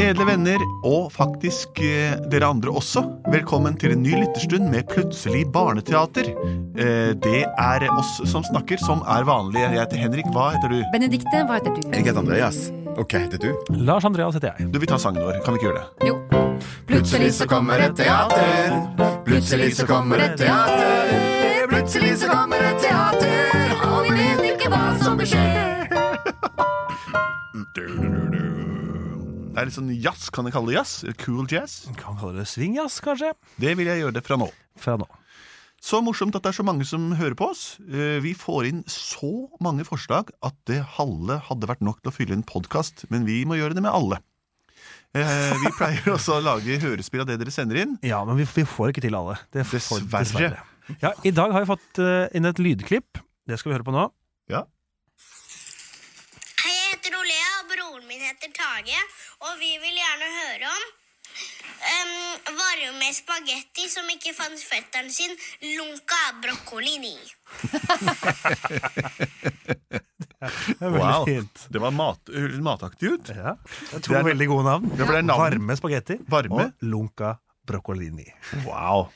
Edle venner, og faktisk eh, dere andre også, velkommen til en ny lytterstund med Plutselig barneteater. Eh, det er oss som snakker, som er vanlige. Jeg heter Henrik. Hva heter du? Benedikte, hva heter du? Jeg heter Andreas. Ok, heter du? Lars Andreas heter jeg. Du, Vi tar sangen vår. Kan vi ikke gjøre det? Jo. Plutselig så kommer et teater. Plutselig så kommer et teater. Plutselig så kommer et teater, og vi vet ikke hva som skjer. Det er litt sånn jazz. Kan jeg kalle det jazz? Cool jazz? Kan kalle det swingjazz, kanskje. Det vil jeg gjøre det fra nå. Fra nå. Så morsomt at det er så mange som hører på oss. Eh, Vi får inn så mange forslag at det halve hadde vært nok til å fylle en podkast, men vi må gjøre det med alle. Eh, Vi pleier også å lage hørespill av det dere sender inn. Ja, men vi, vi får ikke til alle. Det får- Dessverre. Ja, I dag har vi fått eh, inn et lydklipp. Det skal vi høre på nå. Ja. Hei, jeg heter Olea, og broren min heter Tage. Og vi vil gjerne høre om um, varme spagetti som ikke fant fetteren sin, lunka broccolini. Det er veldig fint. Det var mat, høres mataktig ut. Ja. Det er to Det er- veldig gode navn. for det er navn. Varme spagetti Varme. og lunka broccolini. Wow.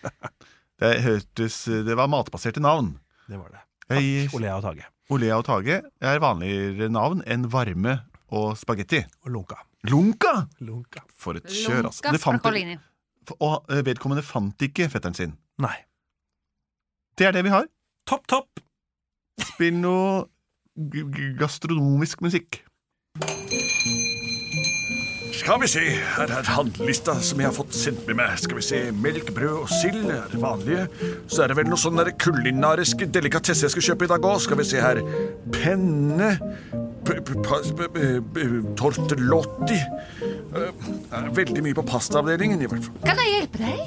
Det, hørtes, det var matbaserte navn. Det var det. Jeg, Olea og Tage. Olea og Tage er vanligere navn enn varme og spagetti. Og lunka. Lunka! Lunka. For et kjør, altså. Lunka Det fant- broccolini. og eh, vedkommende fant ikke fetteren sin. Nei. Det er det vi har. Topp, topp! Spill noe g- g- gastronomisk musikk. Skal vi se, her er handlelista som jeg har fått sendt med meg. Skal vi se, Melk, brød og sild er det vanlige. Så er det vel noe sånn der kulinarisk delikatesse jeg skal kjøpe i dag òg. Skal vi se her. Penne p- p- pas- p- p- p- Tortellotti. Eh, det er Veldig mye på pastaavdelingen, i hvert fall. Kan jeg hjelpe deg?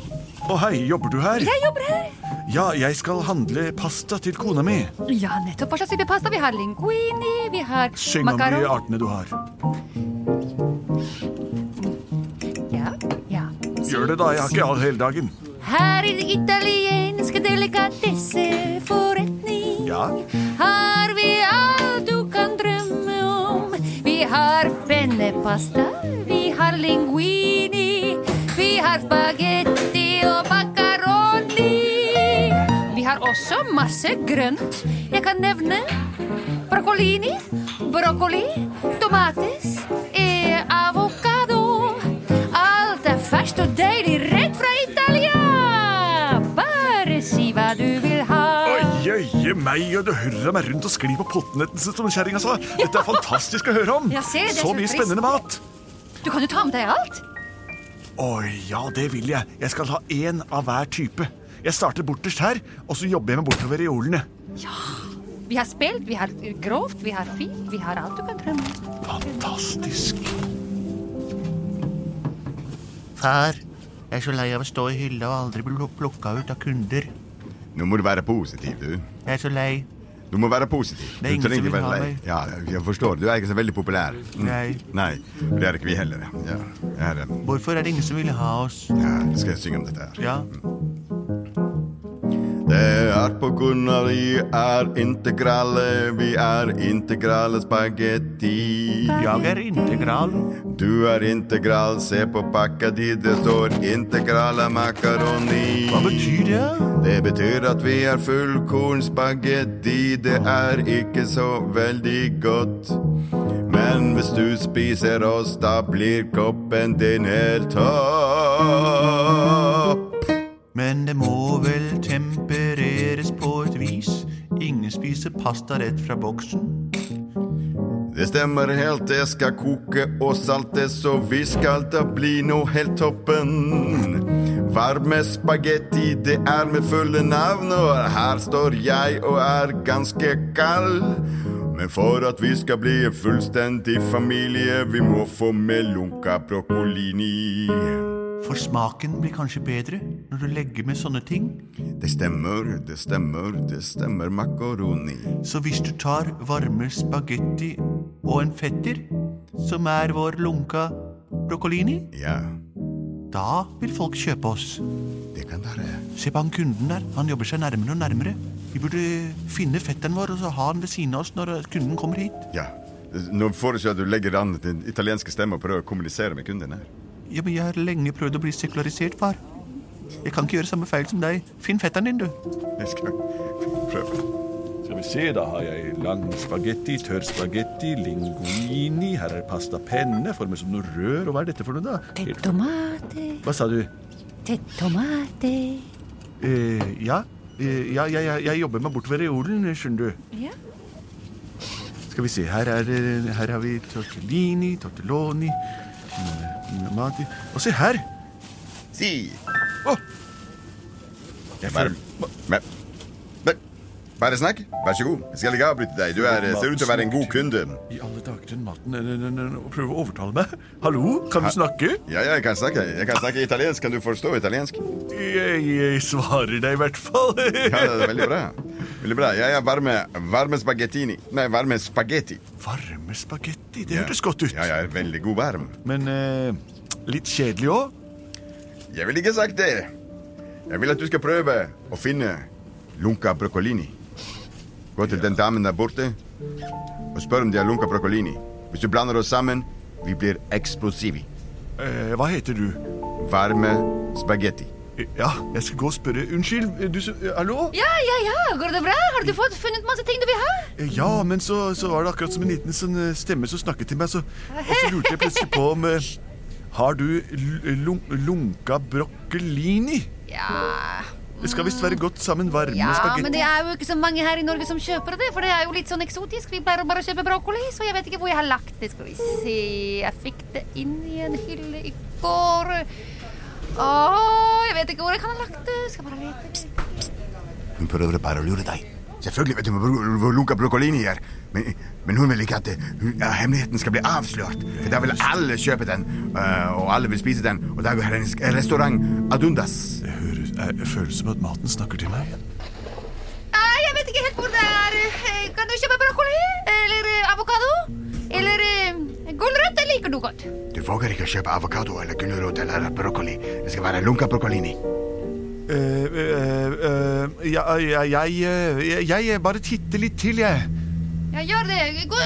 Å, hei, jobber du her? Jeg jobber her. Ja, jeg skal handle pasta til kona mi. Ja, nettopp. Hva slags type pasta? Vi har linguini, vi har Syng om de macaron. artene du har. Ja, ja. Gjør det, da. Jeg har ikke all hele dagen. Her i det italienske delikatesseforretning Ja. har vi alt du kan drømme om. Vi har pennepasta, vi har linguini, vi har spagetti og makaroni. Vi har også masse grønt. Jeg kan nevne broccolini, broccoli, tomates, eh, avokado. Alt er ferskt og deilig rett fra Italia! Bare si hva du vil ha. Å, Jøye meg, og du hører meg rundt og sklir på potteneten som kjerringa sa. Dette er fantastisk å høre om. Ja, se, det er så så mye trist. spennende mat. Du kan jo ta med deg alt. Oi, ja, det vil jeg. Jeg skal ha én av hver type. Jeg starter borterst her, og så jobber jeg meg bortover i olene. Vi har spilt, vi har grovt, vi har fint, vi har alt du kan drømme om. Fantastisk. Far, jeg er så lei av å stå i hylla og aldri bli pluk- plukka ut av kunder. Nå må du være positiv, du. Jeg er så lei. Du må være positiv. Det er ingen du trenger som ikke vil være ha lei. meg. Ja, jeg forstår. Du er ikke så veldig populær. Mm. Nei. Nei, det er ikke vi heller. Ja, jeg er, eh, Hvorfor er det ingen som vil ha oss? ja, skal jeg synge om dette her. Ja, Det er på grunn av vi er integrale, vi er integrale spagetti. jeg er integral. Du er integral, se på pakka di, det står integrale makaroni. Hva betyr det? Det betyr at vi er fullkornspagetti. Det er ikke så veldig godt. Men hvis du spiser oss, da blir koppen din helt topp. Men det må vel tempereres på et vis. Ingen spiser pasta rett fra boksen. Det stemmer helt, det skal koke og saltes, så vi skal da bli noe helt toppen. Varme spagetti, det er med fulle navn, og her står jeg og er ganske kald. Men for at vi skal bli en fullstendig familie, vi må få med lunka broccolini. For smaken blir kanskje bedre når du legger med sånne ting. Det stemmer, det stemmer, det stemmer makaroni. Så hvis du tar varme spagetti og en fetter, som er vår lunka broccolini, Ja, da vil folk kjøpe oss. det kan være. Se på han kunden der. Han jobber seg nærmere og nærmere. Vi burde finne fetteren vår og så ha han ved siden av oss når kunden kommer hit. Ja, Nå foreslår jeg at du legger an den italienske stemmen og prøver å kommunisere med kunden her. Ja, men jeg har lenge prøvd å bli sekularisert, far. Jeg kan ikke gjøre samme feil som deg. Finn fetteren din, du. Jeg skal prøve. Skal vi se, da har jeg lang spagetti, tørr spagetti, linguini, her er pasta penne, formet som noe rør, og hva er dette for noe, da? Te Helt- tomate, Hva sa du? te tomate. Eh, ja, eh, ja jeg, jeg, jeg jobber meg bortover i jorden, skjønner du. Ja. Skal vi se, her, er, det- her har vi tortellini, tortelloni mm, mati. Og se her! Si! Å! Jeg bare men, men, Bare snakk. Vær så god. Jeg skal ikke avbryte deg. Du er, ser ut til å være en god kunde. I alle dager den maten eh, den- den- den- og prøve å overtale meg. Hallo, kan du snakke? Ja, ja, jeg kan snakke. Jeg kan snakke italiensk. Kan du forstå italiensk? Jeg, jeg svarer deg i hvert fall. Ja, det er veldig bra. Veldig bra. Jeg er varme, varme spagettini. Nei, varme spagetti. Varme spagetti, det Ja. hørtes godt ut. Ja, jeg er veldig god varm. Men eh, litt kjedelig òg. Jeg vil ikke sagt det. Jeg vil at du skal prøve å finne lunka broccolini. Gå til den damen der borte og spør om de har lunka broccolini. Hvis du blander oss sammen, vi blir eksplosivi. Eh, hva heter du? Varme spagetti. Eh, Ja, jeg skal gå og spørre. Unnskyld, eh, du som eh, Hallo? ja, ja, ja. Går det bra? Har du fått funnet masse ting du vil ha? Eh, Ja, men så, så var det akkurat som en liten sånn eh, stemme som snakket til meg, så, og så lurte jeg plutselig på om eh, Har du l- lun lunka broccolini? Ja, Det skal visst være godt sammen varme ja men spagetti. det er jo ikke så mange her i Norge som kjøper det, for det er jo litt sånn eksotisk. Vi pleier å bare kjøpe brokkoli, så jeg vet ikke hvor jeg har lagt det. Skal vi se Jeg fikk det inn i en hylle i går. Åh, jeg vet ikke hvor jeg kan ha lagt det. Skal bare lete. Hun prøver bare å lure deg. Selvfølgelig vet hun hvor- hvor lunka broccolini er, men, men hun vil ikke at det- hun- ja, hemmeligheten skal bli avslørt. For da vil alle kjøpe den, øh, og alle vil spise den, og da vil hennes restaurant adundas. Det høres, eh, det føles som at maten snakker til meg. Nei, jeg vet ikke helt hvor det er. Eh, Kan du kjøpe brokkoli? Eller eh, avokado? Eller eh, gulrøtt? Det liker du godt. Du våger ikke å kjøpe avokado eller gulrot eller broccoli. Det skal være lunka broccolini. Eh, eh, eh, ja, ja, jeg, eh, jeg, jeg bare titter litt til, jeg. Ja, gjør det. Gå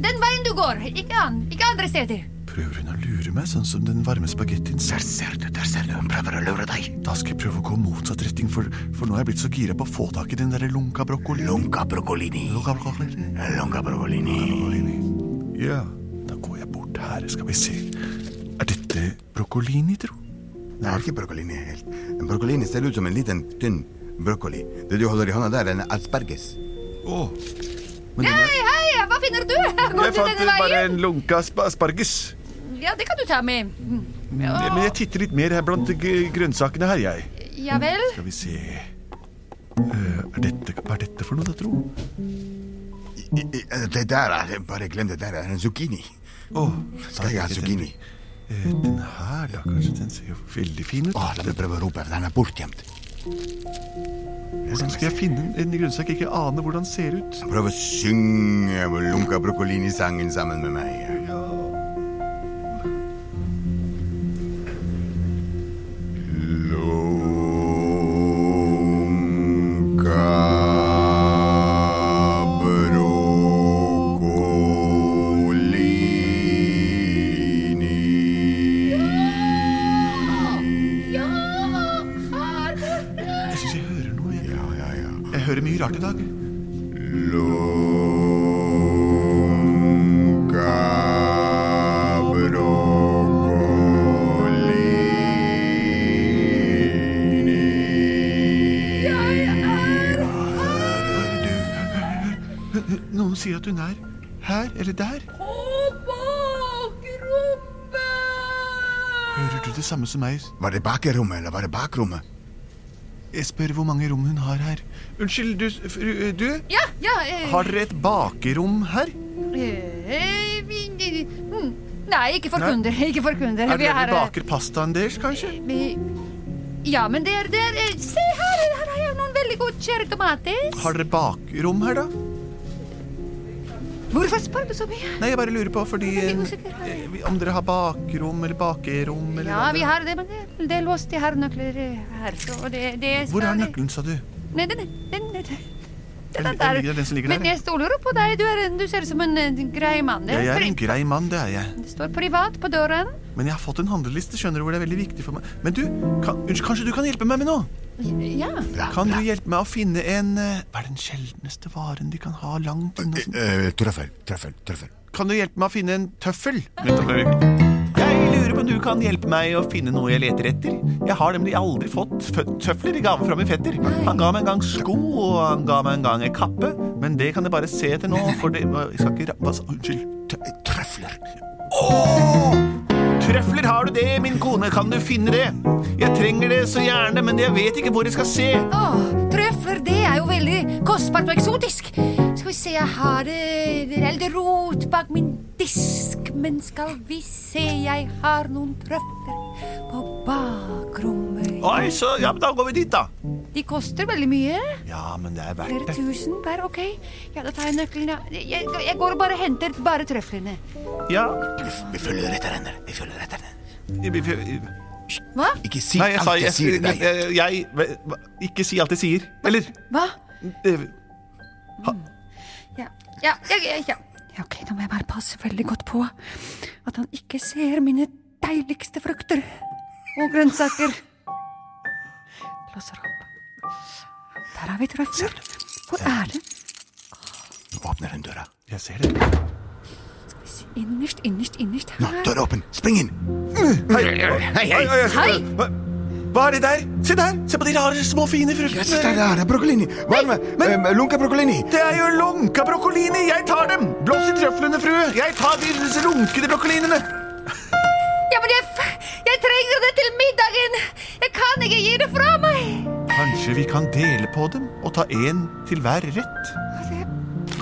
den veien du går. Ikke, an, ikke andre steder. Prøver hun å lure meg, sånn som den varme spagettien sa? Der ser du, der ser du. Hun prøver å lure deg. Da skal jeg prøve å gå motsatt retning, for, for nå er jeg blitt så gira på å få tak i den der lunka brokkoli. Lunka broccolini. Lunka brokkoli. Lunka broccolini. Ja, da går jeg bort her, skal vi se. Er dette brokkolini, tro? Nei, ikke broccolini helt. En broccolini ser ut som en liten, tynn broccoli. Det du holder i hånda der, er en asperges. Å, Hei, hei, hva finner du? Går jeg du fant denne bare veien? en lunka asp- asparges. Ja, det kan du ta med. Mm. Ja, Men jeg titter litt mer her blant g- grønnsakene her, jeg. Ja vel. Skal vi se. Eh, er dette, hva er dette for noe, da, tro? Å, I- i- Det der er Bare glem det der. er en zucchini. Skal jeg ha zucchini? Eh, Den her, da, kanskje den ser jo veldig fin ut. Å, la meg prøve å rope. Den er bortgjemt. Hvordan skal jeg finne en- en grønnsak jeg ikke aner hvordan ser ut? Prøv å synge Lunka Broccolini-sangen sammen med meg. Lunka Broccolini. Ja, her. Jeg syns jeg hører noe. Jeg, Ja, ja, ja. jeg hører mye rart i dag. Lunga broccolini. Noen sier at hun er her eller der. Hører du det samme som meg? Var det bakrommet, eller var det bakrommet? Jeg spør hvor mange rom hun har her. Unnskyld, du, fru, du Ja, ja. eh, Har dere et bakerom her? eh, vi- eh, mm. Nei, ikke for Nei. kunder. Ikke for kunder. Er det Vi dere eh, baker pastaen deres, kanskje? Vi- Ja, men det er, det er eh, Se her, her har jeg noen veldig gode cherry tomates. Har dere bakrom her, da? Hvorfor spør du så mye? Nei, jeg bare lurer på fordi Jeg er litt usikker her. eh, Om dere har bakrom eller bakerom eller Ja, hva vi det- har det, men det, det er låst. Jeg har nøkler eh, her. Så det, det Hvor er nøkkelen, sa du? Nei, den, den, den, det Jeg der. liker den som ligger Men der. jeg stoler på deg. Du, er, en- du ser ut som en eh, grei mann. Det, er Jeg er en pri- grei mann, det er jeg. det står privat på døren. Men jeg har fått en handleliste, skjønner du, hvor det er veldig viktig for meg. Men du, kan, unnskyld, kanskje du kan hjelpe meg med noe? Ja. Kan du hjelpe meg å finne en eh, Hva er den sjeldneste varen de kan ha langt inne? hos- Eh, Trøffel, trøffel, trøffel. Kan du hjelpe meg å finne en tøffel? Jeg lurer på om du kan hjelpe meg å finne noe jeg leter etter. Jeg har nemlig aldri fått fø- tøfler i gave fra min fetter. Han ga meg en gang sko, og han ga meg en gang en kappe, men det kan jeg bare se etter nå, for det Jeg skal ikke ra- Hva sa Unnskyld. Tø- Trøfler. Trøfler har du det, min kone, kan du finne det? Jeg trenger det så gjerne, men jeg vet ikke hvor jeg skal se. Åh, trøfler, det er jo veldig kostbart og eksotisk. Skal vi se, jeg har eh, det er litt rot bak min disk. Men skal vi se, jeg har noen trøfler på bakrommet. Oi, så ja, men da går vi dit, da. De koster veldig mye. Ja, men det er verdt Flere det. tusen per, ok. Ja, da tar jeg nøkkelen, ja. Jeg, jeg går og bare henter bare trøflene. Ja. Vi følger etter henne. Vi følger etter henne. Nei, Hva? Ikke si jeg alt sa jeg, jeg, sier til jeg, deg. jeg, hva- Ikke si alt jeg sier. Eller Hva? Mm. eh, Ja. Ja, ja, ja, ja. ja, ok, da må jeg bare passe veldig godt på at han ikke ser mine deiligste frukter og grønnsaker. Låser opp. Der har vi trøfler. Hvor er det? Nå åpner hun døra. Jeg ser det. Innerst, innerst, innerst Nå, her. døra åpen. Spring inn. Hei, hei. Oi, oi, Hei! Hva, hva er det der? Se der! Se på de rare, små, fine Yes, der, fruktene. der, der, broccolini. Varme. men- Eh, lunka broccolini. Det er jo lunka brokkolini! Jeg tar dem! Blås i trøflene, frue. Jeg tar de lunkede brokkolinene. Ja, men jeg, f- jeg trenger det til middagen! Jeg kan ikke gi det fra meg! Kanskje vi kan dele på dem og ta én til hver rett?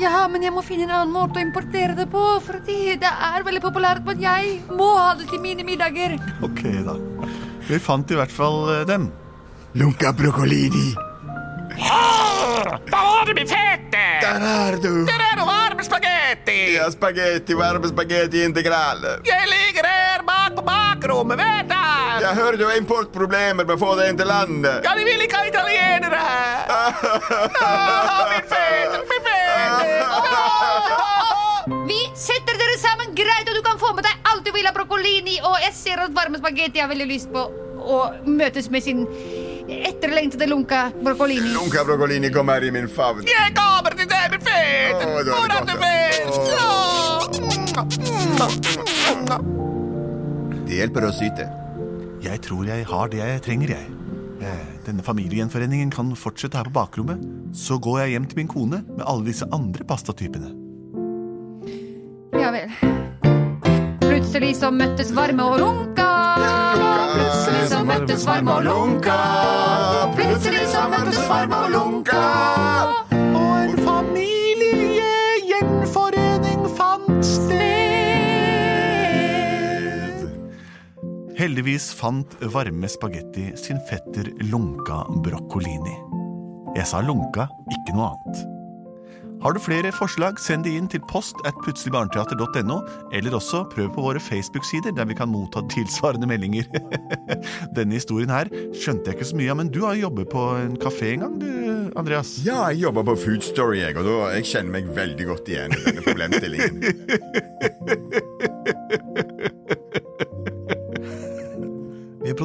Ja, men jeg må finne en annen måte å importere det på, fordi det er veldig populært, men jeg må ha det til mine middager. Ok, da. Vi fant i hvert fall eh, dem. Lunka broccolini. Da har du min fetter! Der er du. Der er noe varm spagetti! Ja, spagetti, varm spagetti integrale. Jeg ligger her bak på bakrommet, vet du! Jeg hører du har importproblemer med å få det inn til landet. Ja, de vil ikke ha italienere her! Åh, min fetter, min fetter! Vi setter dere sammen greit, og du kan få med deg alt du vil av brokkolini, og jeg ser at varme spagetti har veldig lyst på å møtes med sin etterlengtede lunka brokkolini. Lunka broccolini kom her i min favn. Jeg kommer til deg, min Åh, fetter! det var det Hvordan du godt, vil! ja. Åh. Det hjelper å syte. Jeg tror jeg har det jeg trenger, jeg. Eh, Denne familiegjenforeningen kan fortsette her på bakrommet. Så går jeg hjem til min kone med alle disse andre pastatypene. Ja vel. Plutselig så møttes varme og lunka. Plutselig så møttes varme og lunka. Plutselig så møttes varme og lunka. Og en familiegjenforening fant sted. Heldigvis fant varme spagetti sin fetter lunka brokkolini. Jeg sa lunka, ikke noe annet. Har du flere forslag, send de inn til post at plutseligbarneteater.no, eller også prøv på våre Facebook-sider, der vi kan motta tilsvarende meldinger. Denne historien her skjønte jeg ikke så mye av, men du har jo jobbet på en kafé en gang, du, Andreas? Ja, jeg jobber på Food Story, jeg, og da, jeg kjenner meg veldig godt igjen i denne problemstillingen. Vi er